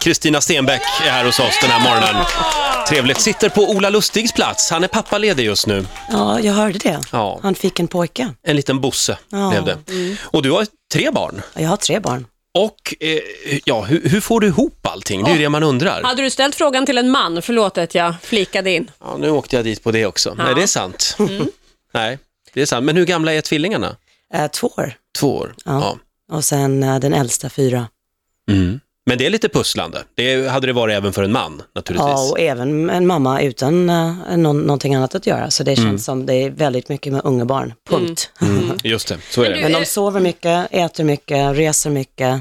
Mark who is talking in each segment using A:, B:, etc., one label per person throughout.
A: Kristina Stenbeck är här hos oss den här morgonen. Trevligt. Sitter på Ola Lustigs plats. Han är pappaledig just nu.
B: Ja, jag hörde det.
A: Ja.
B: Han fick en pojke.
A: En liten Bosse
B: Ja.
A: blev
B: Mm.
A: det. Och du har tre barn.
B: Jag har tre barn.
A: Och eh, ja, hur, hur får du ihop allting? Det är ju det man undrar.
C: Hade du ställt frågan till en man, förlåt att jag flikade in.
A: Ja, nu åkte jag dit på det också. Nej, det är sant.
B: Mm.
A: Nej, det är sant. Men hur gamla är tvillingarna?
B: Eh, två år.
A: Två år.
B: Ja. Och sen eh, den äldsta fyra.
A: Mm. Men det är lite pusslande. Det hade det varit även för en man naturligtvis.
B: Ja, och även en mamma utan eh, någon, någonting annat att göra. Så det känns som det är väldigt mycket med unga barn. Punkt.
A: Mm. Just det, så är det.
B: Men de sover mycket, äter mycket, reser mycket.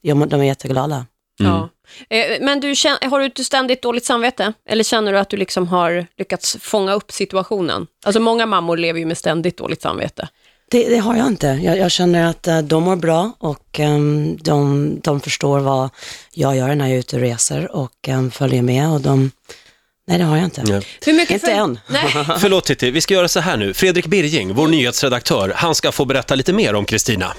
B: Jag, må- de är jätteglada.
C: Ja. Eh, Men du, kän- har du inte ständigt dåligt samvete? Eller känner du att du liksom har lyckats fånga upp situationen? Alltså många mammor lever ju med ständigt dåligt samvete.
B: Det, det har jag inte. Jag, jag känner att eh, de mår bra och ehm, de, de förstår vad jag gör när jag är ute och reser och ehm, följer med och de... Nej, det har jag inte.
A: Nej.
C: Hur mycket
B: Inte än.
C: Nej.
A: Förlåt Titti, vi ska göra så här nu. Fredrik Birging,
B: Mm.
A: vår nyhetsredaktör, han ska få berätta lite mer om Kristina.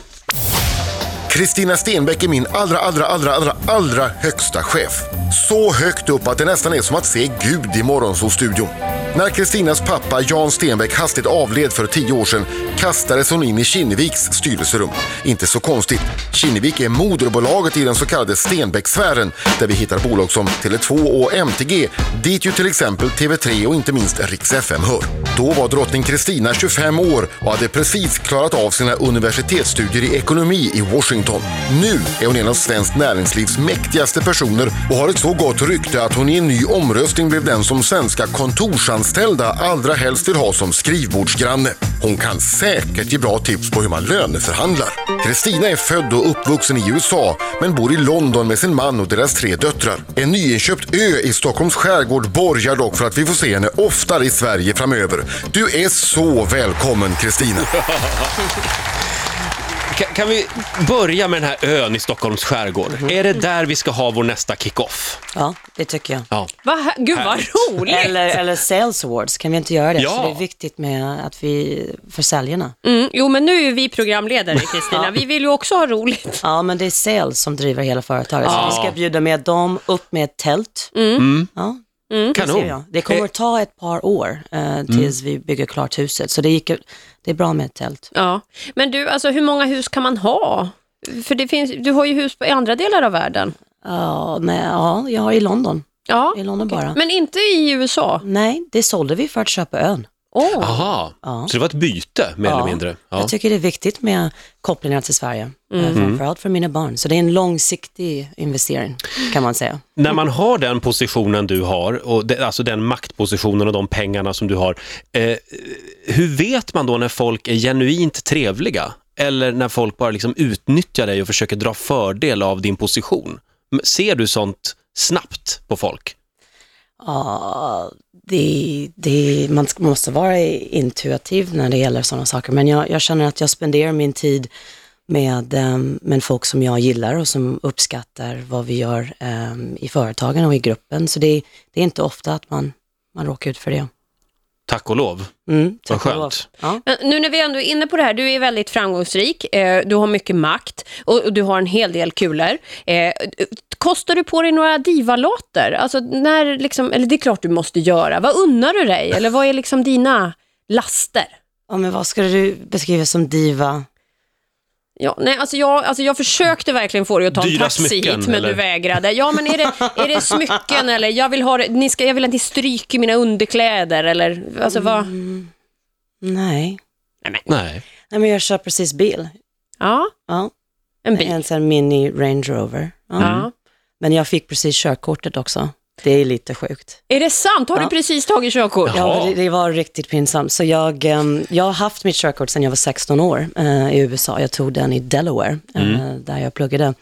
D: Kristina Stenbeck är min allra, allra, allra, allra, allra högsta chef. Så högt upp att det nästan är som att se Gud i Morgonzoo-studion. När Kristinas pappa Jan Stenbeck hastigt avled för tio år sedan kastades hon in i Kinneviks styrelserum. Inte så konstigt. Kinnevik är moderbolaget i den så kallade Stenbeck-sfären där vi hittar bolag som Tele2 och MTG dit ju till exempel TV3 och inte minst Rix FM hör. Då var drottning Kristina 25 år och hade precis klarat av sina universitetsstudier i ekonomi i Washington. Nu är hon en av svenskt näringslivs mäktigaste personer och har ett så gott rykte att hon i en ny omröstning blev den som svenska kontorsanställda allra helst vill ha som skrivbordsgranne. Hon kan säkert ge bra tips på hur man löneförhandlar. Kristina är född och uppvuxen i USA men bor i London med sin man och deras tre döttrar. En nyinköpt ö i Stockholms skärgård borgar dock för att vi får se henne oftare i Sverige framöver. Du är så välkommen Kristina!
A: Ka- kan vi börja med den här ön i Stockholms skärgård?
B: Mm.
A: Är det där vi ska ha vår nästa kick-off?
B: Ja, det tycker jag.
A: Ja.
C: Va? Gud vad
B: Äh.
C: roligt!
B: Eller, eller sales awards, kan vi inte göra det?
A: Ja.
B: Så det är viktigt med att vi, för säljarna.
C: Mm, jo, men nu är ju vi programledare, Kristina. Vi vill ju också ha roligt.
B: Ja, men det är sales som driver hela företaget. Så vi ska bjuda med dem upp med ett tält. Ja, Mm, det, ser jag.
A: Kanon. Eh,
B: det kommer att ta ett par år eh, tills vi bygger klart huset. Så det, gick, ju- det är bra med ett tält.
C: Ja. Men du, alltså hur många hus kan man ha? För det finns, du har ju hus i andra delar av världen.
B: Ja, nej, ja jag har i London.
C: Ja,
B: I London bara.
C: men inte i USA.
B: Nej, det sålde vi för att köpa ön.
C: Åh.
A: Aha,
B: Ja.
A: så det var ett byte mer eller
B: Ja.
A: mindre. Ja.
B: Jag tycker det är viktigt med kopplingar till Sverige, mm. framförallt för mina barn. Så det är en långsiktig investering, kan man säga.
A: När man har den positionen du har, och det, alltså den maktpositionen och de pengarna som du har, eh, hur vet man då när folk är genuint trevliga? Eller när folk bara liksom utnyttjar dig och försöker dra fördel av din position? M- Ser du sånt snabbt på folk?
B: Ja, det, det, man ska- måste vara intuitiv när det gäller sådana saker. Men jag, jag känner att jag spenderar min tid med, ehm, med folk som jag gillar och som uppskattar vad vi gör ehm, i företagen och i gruppen. Så det, det är inte ofta att man, man råkar ut för det.
A: Tack och lov.
B: Mm, tack
A: skönt.
B: och lov. Ja.
C: Men Eh, nu när vi ändå är inne på det här, du är väldigt framgångsrik, eh, du har mycket makt och och du har en hel del kulor. Eh, kostar du på dig några divalater? Alltså, när liksom, eller det är klart du måste göra. Vad unnar du dig? Eller vad är liksom dina laster?
B: ja, men vad skulle du beskriva som diva?
C: Ja, nej, alltså jag, alltså jag försökte verkligen få dig att ta en
A: Dyra
C: taxi
A: smycken,
C: hit, men
A: eller?
C: du vägrade. Ja, men är det, är det smycken eller jag vill, ha, det- ni ska, jag vill att ni stryker mina underkläder eller alltså vad?
B: Nej.
A: Nej.
B: Nej, men jag köper precis bil.
C: Ja,
B: Ja,
C: en bil. Mm.
B: en sån här mini Range Rover. Ja.
C: Ja.
B: Men jag fick precis körkortet också. Det är lite sjukt.
C: Är det sant? Har du
B: Ja.
C: precis tagit körkort?
A: Jaha.
B: Ja, det, det var riktigt pinsamt. Så jag, ehm, jag har haft mitt körkort sedan jag var 16 år eh, i USA. Jag tog den i Delaware, eh, där jag pluggade.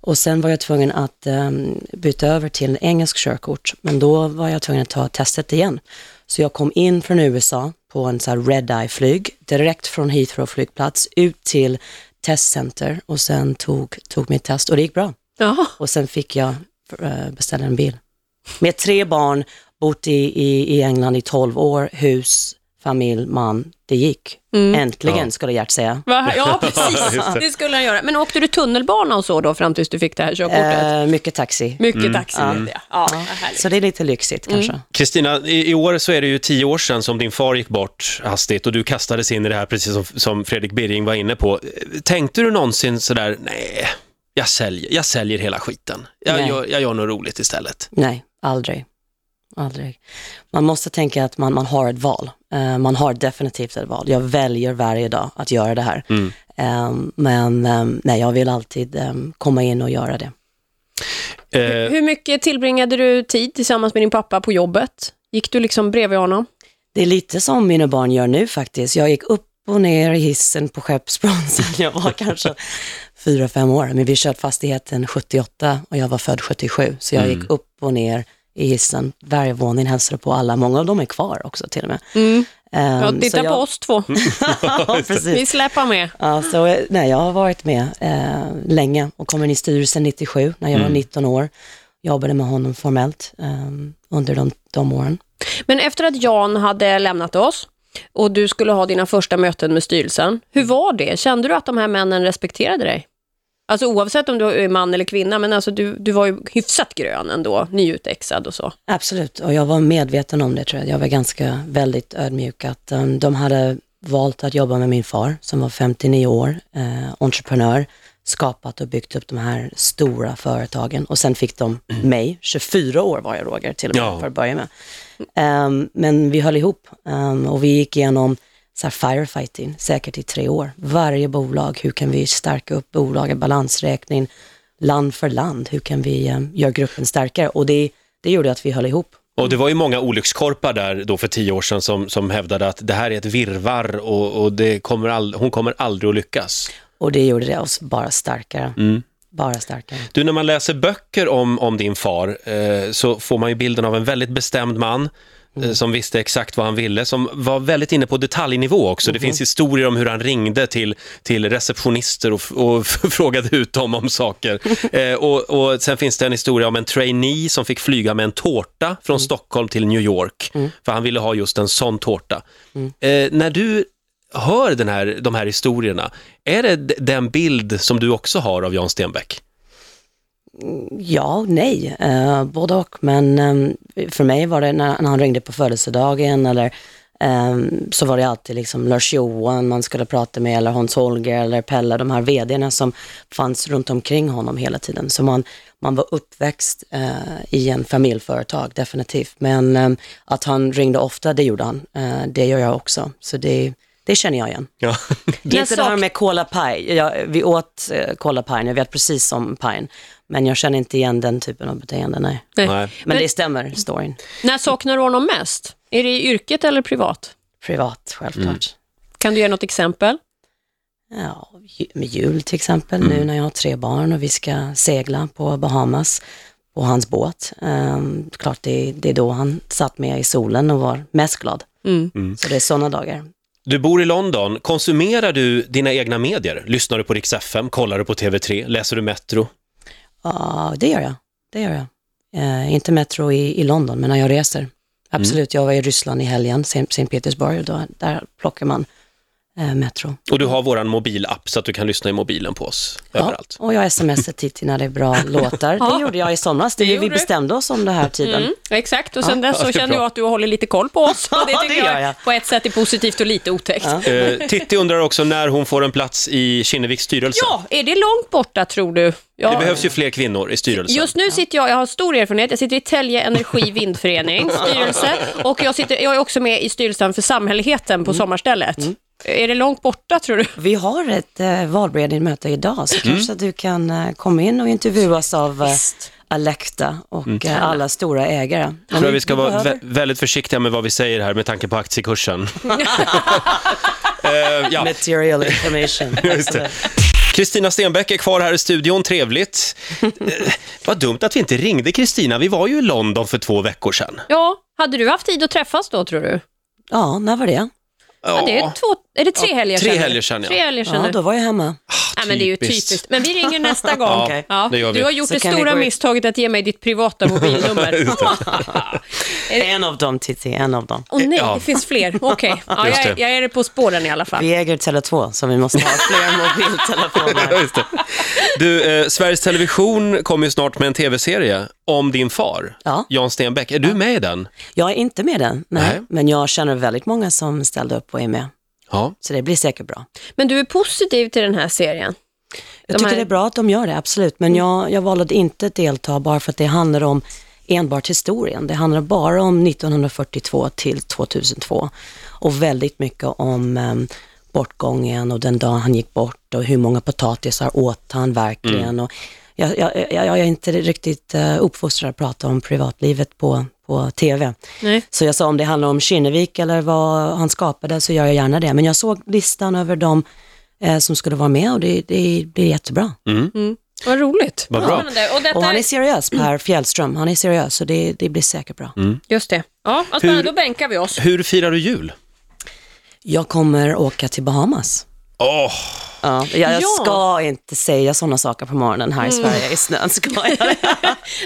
B: Och sen var jag tvungen att ehm, byta över till engelsk körkort, men då var jag tvungen att ta testet igen. Så jag kom in från USA på en så här red-eye-flyg, direkt från Heathrow flygplats ut till testcenter och sen tog, tog mitt test och det gick bra.
C: Jaha.
B: Och sen fick jag eh, beställa en bil. Med tre barn, bott i, i, i England i 12 år, hus, familj, man, det gick. Äntligen, skulle Gert säga.
C: Va? Ja, precis. det skulle han göra. Men åkte du tunnelbana och så då fram tills du fick det här körkortet?
B: Eh, mycket taxi.
C: Mycket taxi vet jag. Ja, vad härligt.
B: Så det är lite lyxigt kanske.
A: Kristina, i, i år så är det ju tio år sedan som din far gick bort hastigt och du kastades in i det här precis som, som Fredrik Birring var inne på. Eh, Tänkte du någonsin sådär, nej, jag säljer, jag säljer hela skiten. Jag,
B: Nej.
A: gör, jag gör något roligt istället.
B: Nej, aldrig. Aldrig. Man måste tänka att man, man har ett val. Eh, man har definitivt ett val. Jag väljer varje dag att göra det här. Eh, men eh, nej, jag vill alltid eh, komma in och göra det.
A: Eh,
C: Hur mycket tillbringade du tid tillsammans med din pappa på jobbet? Gick du liksom bredvid honom?
B: Det är lite som mina barn gör nu faktiskt. Jag gick upp och ner i hissen på Skeppsbron sen jag var kanske fyra fem år. Men vi köpte fastigheten 78 och jag var född 77. Så jag
C: Mm.
B: gick upp och ner i hissen. Varje våning hälsade på alla. Många av dem är kvar också till och med. Ehm,
C: Mm. Ja,
B: så
C: titta
B: jag-
C: på oss två.
B: ja, precis.
C: Vi släpar med.
B: Ja, så, eh, nej, jag har varit med eh, länge och kom in i styrelsen 97 när jag
C: Mm.
B: var 19 år. Jobbade med honom formellt eh, under de, de åren.
C: Men efter att Jan hade lämnat oss och du skulle ha dina första möten med styrelsen, hur var det? Kände du att de här männen respekterade dig? Alltså oavsett om du är man eller kvinna, men alltså du, du var ju hyfsat grön ändå, nyutexad och så.
B: Absolut, och jag var medveten om det tror jag. Jag var ganska väldigt ödmjuk att eh, de hade valt att jobba med min far som var 59 år, eh, entreprenör, skapat och byggt upp de här stora företagen och sen fick de mig, 24 år var jag Roger till och med
A: Ja.
B: för att börja med. Ehm, men vi höll ihop ehm, och vi gick igenom så här firefighting säkert i tre år. Varje bolag, hur kan vi stärka upp bolaget, balansräkning, land för land, hur kan vi ehm, göra gruppen starkare? Och det, det gjorde att vi höll ihop.
A: och det var ju många olyckskorpar där då för tio år sedan som, som hävdade att det här är ett virrvarr och, och det kommer all, hon kommer aldrig att lyckas.
B: Och det gjorde det oss bara starkare. Bara starkare.
A: Du, när man läser böcker om, om din far eh, så får man ju bilden av en väldigt bestämd man eh, som visste exakt vad han ville, som var väldigt inne på detaljnivå också. Det finns historier om hur han ringde till, till receptionister och, f- och frågade ut dem om saker. Eh, och, och sen finns det en historia om en trainee som fick flyga med en tårta från Stockholm till New York, för han ville ha just en sån tårta. Eh, när du hör den här, de här historierna, är det d- den bild som du också har av Jan Stenbeck?
B: Ja och nej, eh, både och. Men ehm, för mig var det när, när han ringde på födelsedagen eller ehm, så var det alltid liksom Lars-Johan man skulle prata med eller Hans-Holger eller Pelle, de här vdarna som fanns runt omkring honom hela tiden. Så man, man var uppväxt eh, i en familjeföretag, definitivt. Men ehm, att han ringde ofta, det gjorde han. Eh, det gör jag också. Så det, det känner jag igen.
A: Ja.
B: Det är
C: Jag
B: inte det här
C: sak-
B: med kolapaj. Jag, vi åt eh, kolapaj, jag vet precis om pajen. Men jag känner inte igen den typen av beteende, nej.
A: Nej.
B: Men det stämmer, storyn.
C: När saknar du honom mest? Är det i yrket eller privat?
B: Privat, självklart.
C: Kan du ge något exempel?
B: Ja, ju- med jul till exempel, nu när jag har tre barn och vi ska segla på Bahamas på hans båt. Ehm, klart det, det är då han satt med i solen och var mest glad.
C: Mm.
A: Mm.
B: Så det är sådana dagar.
A: Du bor i London. Konsumerar du dina egna medier? Lyssnar du på Rix FM? Kollar du på TV3? Läser du Metro?
B: Ja, det gör jag. Det gör jag. Eh, inte Metro i, i London, men när jag reser. Absolut, jag var i Ryssland i helgen, Sankt Sankt Petersburg, och då, där plockar man eh, Metro.
A: Och du har vår mobilapp så att du kan lyssna i mobilen på oss överallt.
B: Ja, och jag smsar Titti när det är bra låtar. Det gjorde jag i somras, det,
C: Det gjorde
B: vi
C: du.
B: bestämde oss om den här tiden.
A: Mm.
C: Exakt, och sen dess
A: Ja, det
C: så
A: är
C: känner
A: bra.
C: jag att du håller lite koll på oss. Och det
B: Ja,
C: tycker
B: det gör
C: jag,
B: jag.
C: på ett sätt är positivt och lite otäckt. Ja.
A: Eh, Titti undrar också när hon får en plats i Kinneviks styrelse.
C: är det långt borta tror du? Ja.
A: Det behövs ju fler kvinnor i styrelsen.
C: Just nu sitter jag, jag har stor erfarenhet, jag sitter i Tälje Energi Vindförening styrelse och jag, sitter, jag är också med i styrelsen för Samhälligheten
A: Mm.
C: på Sommarstället. Är det långt borta tror du?
B: Vi har ett eh, valberedningsmöte idag,
A: Mm.
B: så kanske du kan eh, komma in och intervjuas av eh, Alecta och eh, alla stora ägare.
A: Mm. Jag tror vi ska
B: Vi
A: vara
B: behöver-
A: vä- väldigt försiktiga med vad vi säger här med tanke på aktiekursen. Eh, ja.
B: Material information.
A: Just det. Kristina Stenbeck är kvar här i studion, trevligt. Eh, vad dumt att vi inte ringde Kristina, vi var ju i London för två veckor sedan.
C: Ja, hade du haft tid att träffas då tror du?
B: Ja, när var det?
C: Ja, det är två, Är det tre helger
A: tre
C: sedan nu?
A: helger sedan, ja.
C: Tre helger sedan
B: Ja,
C: nu.
B: då var jag hemma.
C: Ja, men det är ju
A: Typiskt.
C: typiskt. Men vi ringer nästa gång.
A: Ja,
B: Okej.
C: Ja,
A: det gör vi.
C: Du har gjort
B: Så
C: det
B: kan vi
C: stora
B: gå ut.
C: misstaget att ge mig ditt privata mobilnummer.
B: En av dem, Titti, en av dem.
C: Åh nej,
A: Ja.
C: det finns fler. Okej, ja,
A: Just
C: jag, är-
A: det.
C: jag är på spåren i alla fall.
B: Vi äger Tele2, så vi måste ha fler mobiltelefoner.
A: Just det. Du, eh, Sveriges Television kommer ju snart med en tv-serie om din far,
B: Ja.
A: Jan Stenbeck. Är du med i den?
B: Jag är inte med den, nej.
A: Nej.
B: men jag känner väldigt många som ställde upp och är med.
A: Ja.
B: Så det blir säkert bra.
C: Men du är positiv till den här serien?
B: Jag
C: De
B: tycker
C: här- Mm.
B: det är bra att de gör det, absolut. Men jag, jag valde att inte att delta bara för att det handlar om enbart historien. Det handlar bara om 1942 till 2002 och väldigt mycket om em, bortgången och den dagen han gick bort och hur många potatisar åt han verkligen.
C: Mm.
B: Och jag, jag, jag, jag är inte riktigt eh, uppfostrad att prata om privatlivet på, på TV.
C: Nej.
B: Så jag sa om det handlar om Kinnevik eller vad han skapade så gör jag gärna det. Men jag såg listan över de eh, som skulle vara med och det, det blir jättebra.
C: Vad roligt.
A: Vad bra.
C: Spännande. Och detta,
B: Och han är seriös, Per Fjällström. Han är seriös så det, det blir säkert bra.
C: Just det. Ja, vad spännande. Då bänkar vi oss.
A: Hur firar du jul?
B: Jag kommer åka till Bahamas.
A: Åh,
B: Ja, Mm. jag, jag
C: Ja.
B: ska inte säga sådana saker på morgonen här i Sverige i snön. Ska jag?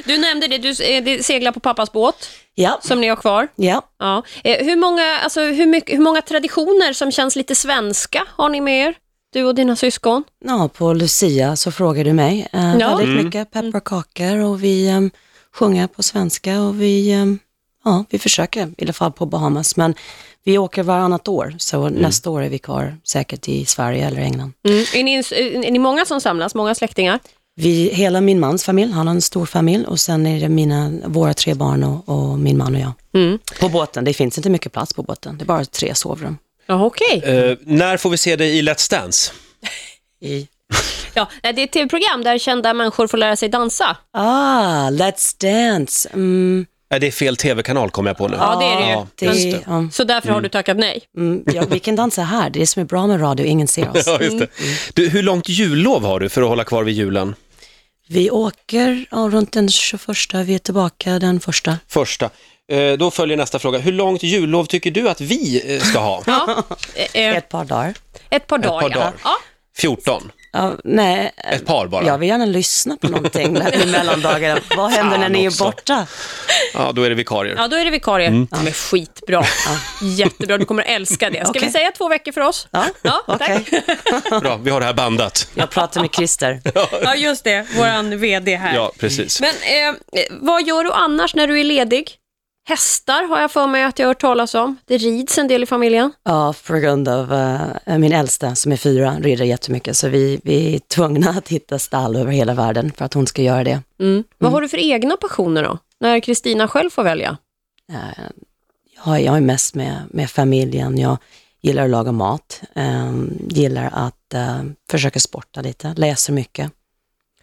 C: Du nämnde det, du eh, det seglar på pappas båt
B: Ja,
C: som ni har kvar.
B: ja.
C: Ja. Eh, Hur, många, alltså, hur, mycket, hur många traditioner som känns lite svenska har ni med er? Du och dina syskon?
B: ja, på Lucia så frågar du mig. Eh,
C: Ja.
B: Väldigt mycket pepparkakor och vi em, sjunger på svenska och vi, em, ja, vi försöker i alla fall på Bahamas. Men vi åker varannat år, så nästa år är vi kvar säkert i Sverige eller England.
A: Mm.
C: Är, ni, är ni många som samlas? Många släktingar?
B: Vi, hela min mans familj, han har en stor familj och sen är det mina, våra tre barn och, och min man och jag. På båten, det finns inte mycket plats på båten, det är bara tre sovrum.
C: Ja, okej.
A: eh, när får vi se dig i Let's Dance?
B: I.
C: Ja, det är ett tv-program där kända människor får lära sig dansa.
B: Ah, Let's Dance. Mm,
A: Nej, det är fel tv-kanal kom jag på nu.
C: Ja, det är det ju.
A: Ja,
B: det,
A: just det.
B: Ja,
C: Så därför har du tackat nej.
B: mm, ja, vi kan dansa här, det är det som är bra med radio, ingen ser oss.
A: Ja, just det.
B: Mm.
A: Du, hur långt jullov har du för att hålla kvar vid julen?
B: Vi åker ja, runt den 21, vi är tillbaka den första.
A: Första. Eh, då följer nästa fråga. Hur långt jullov tycker du att vi eh, ska ha?
C: Ja, eh, eh,
B: Ett par dagar.
C: ett par dagar.
A: par dagar.
C: Ja.
A: 14.
B: Ja, nej,
A: Ett par bara.
B: jag vill gärna lyssna på någonting i mellandagarna. Vad händer när ni
A: Fan
B: är
A: också.
B: borta?
A: Ja, då är det vikarier.
C: ja, då är det vikarier. Ja, men skitbra. Jättebra, du kommer älska det. Ska
B: Okej.
C: vi säga två veckor för oss?
B: Ja, okej.
C: tack.
A: Bra, vi har det här bandat.
B: Jag pratar med Christer.
C: Ja, just det. Vår VD här.
A: Ja, precis.
C: Men eh, eh, vad gör du annars när du är ledig? Hästar har jag för mig att jag har hört talas om. Det rids en del i familjen.
B: Ja, på grund av eh, min äldsta som är fyra, rider jättemycket, så vi, vi är tvungna att hitta stall över hela världen för att hon ska göra det.
C: Vad har du för egna passioner då? När Kristina själv får välja?
B: Eh, Jag, jag är mest med, med familjen, jag gillar att laga mat, eh, gillar att eh, försöka sporta lite, läser mycket,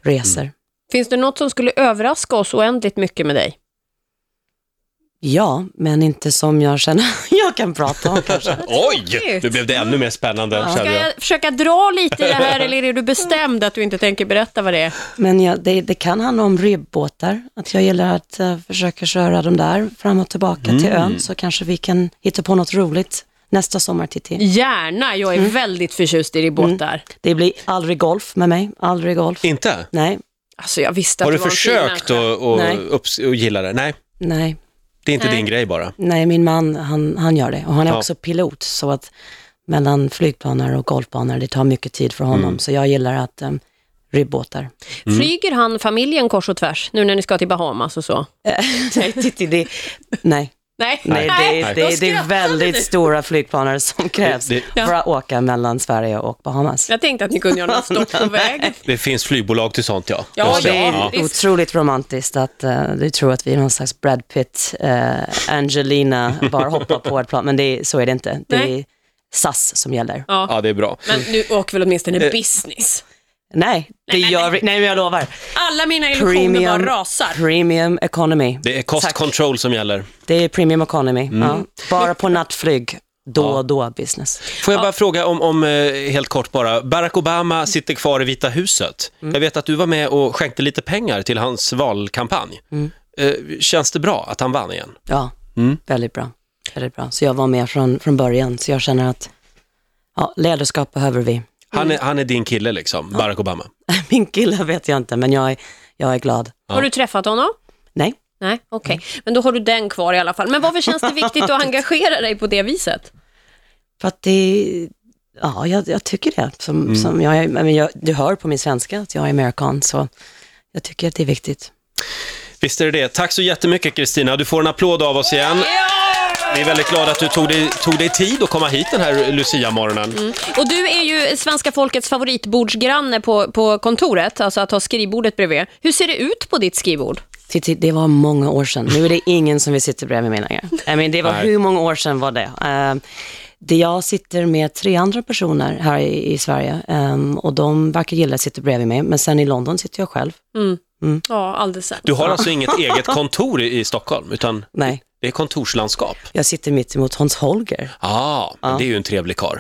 B: reser.
C: Finns det något som skulle överraska oss oändligt mycket med dig?
B: Ja, men inte som jag känner jag kan prata om kanske.
A: Oj,
C: tråkigt.
A: nu blev det ännu mer spännande
C: Ska
A: kände jag.
C: jag försöka dra lite i det här eller är du bestämd att du inte tänker berätta vad det är?
B: Men jag, det, det kan handla om ribbåtar, att jag gillar att eh, försöka köra dem där fram och tillbaka till ön, så kanske vi kan hitta på något roligt nästa sommar, Titti.
C: Gärna, jag är
B: Mm.
C: väldigt förtjust i ribbåtar.
B: Det blir aldrig golf med mig, aldrig golf.
A: Inte?
B: Nej,
C: Alltså jag visste att
A: Har du
C: var en fin
A: försökt
C: människa.
A: att att
B: Nej.
A: upps- att gilla det? Nej,
B: nej,
A: det är inte
C: Nej.
A: din grej bara.
B: nej, min man, han, han gör det. Och han är
A: Ja.
B: också pilot, så att mellan flygbanor och golfbanor, det tar mycket tid för honom. Så jag gillar att um, ribbåtar.
A: Mm.
C: Flyger han familjen kors och tvärs nu när ni ska till Bahamas och så?
B: nej, Titti, det, nej.
C: Nej,
B: Nej, det, är-
C: då
B: det, är- det är
C: skrattade
B: väldigt
C: du.
B: stora flygplaner som krävs
A: det-
B: för att åka mellan Sverige och Bahamas.
C: Jag tänkte att ni kunde göra något stopp på vägen.
A: Det finns flygbolag till sånt ja.
C: Ja,
A: Just
B: Det är
C: Ja.
B: otroligt romantiskt att eh, du tror att vi är någon slags Brad Pitt, eh, Angelina, bara hoppar på ett plan. Men det är, så är det inte. Det
C: Nej.
B: är SAS som gäller.
C: Ja.
A: Ja, Eh. det är bra.
C: Men nu åker väl åtminstone business.
B: Nej, det gör vi. Nej, men jag lovar.
C: Alla mina illusioner
B: Premium,
C: bara rasar.
B: premium economy.
A: Det är cost
B: Tack.
A: control som gäller.
B: Det är premium economy. Ja. Bara på nattflyg, då och då business.
A: Får jag bara fråga om, om, eh, helt kort bara, Barack Obama sitter kvar i Vita huset. Jag vet att du var med och skänkte lite pengar till hans valkampanj. Eh, Känns det bra att han vann igen?
B: Ja, väldigt bra. Väldigt bra. Så jag var med från, från början, så jag känner att Ja, ledarskap behöver vi.
A: Han är, han är din kille liksom, Barack Obama.
B: Min kille vet jag inte, men jag är, jag är glad.
C: Har du träffat honom?
B: Nej,
C: Nej, okej.
A: Mm.
C: Men då har du den kvar i alla fall. Men varför känns det viktigt att engagera dig på det viset?
B: för att det... Ja, jag, jag tycker det. Som, som jag, är- men jag, du hör på min svenska att jag är amerikan, så jag tycker att det är viktigt.
A: Visst är det det. Tack så jättemycket Kristina. Du får en applåd av oss igen. Vi är väldigt glada att du tog dig, tog dig tid att komma hit den här Lucia-morgonen.
C: Och du är ju svenska folkets favoritbordsgranne på, på kontoret, alltså att ha skrivbordet bredvid. Hur ser det ut på ditt skrivbord?
B: Titt, titt, Det var många år sedan. Nu är det ingen som vill sitta bredvid mig längre. I mean, det var
A: Nej.
B: hur många år sedan var det? Ehm, det jag sitter med tre andra personer här i, i Sverige ehm, och de verkar gilla att sitta bredvid mig. Men sen i London sitter jag själv.
C: Ja, alldeles sämst.
A: Du har alltså inget eget kontor i, i Stockholm, utan
B: Nej,
A: det är kontorslandskap.
B: jag sitter mitt emot Hans Holger.
A: Ah, men det är ju en trevlig karl.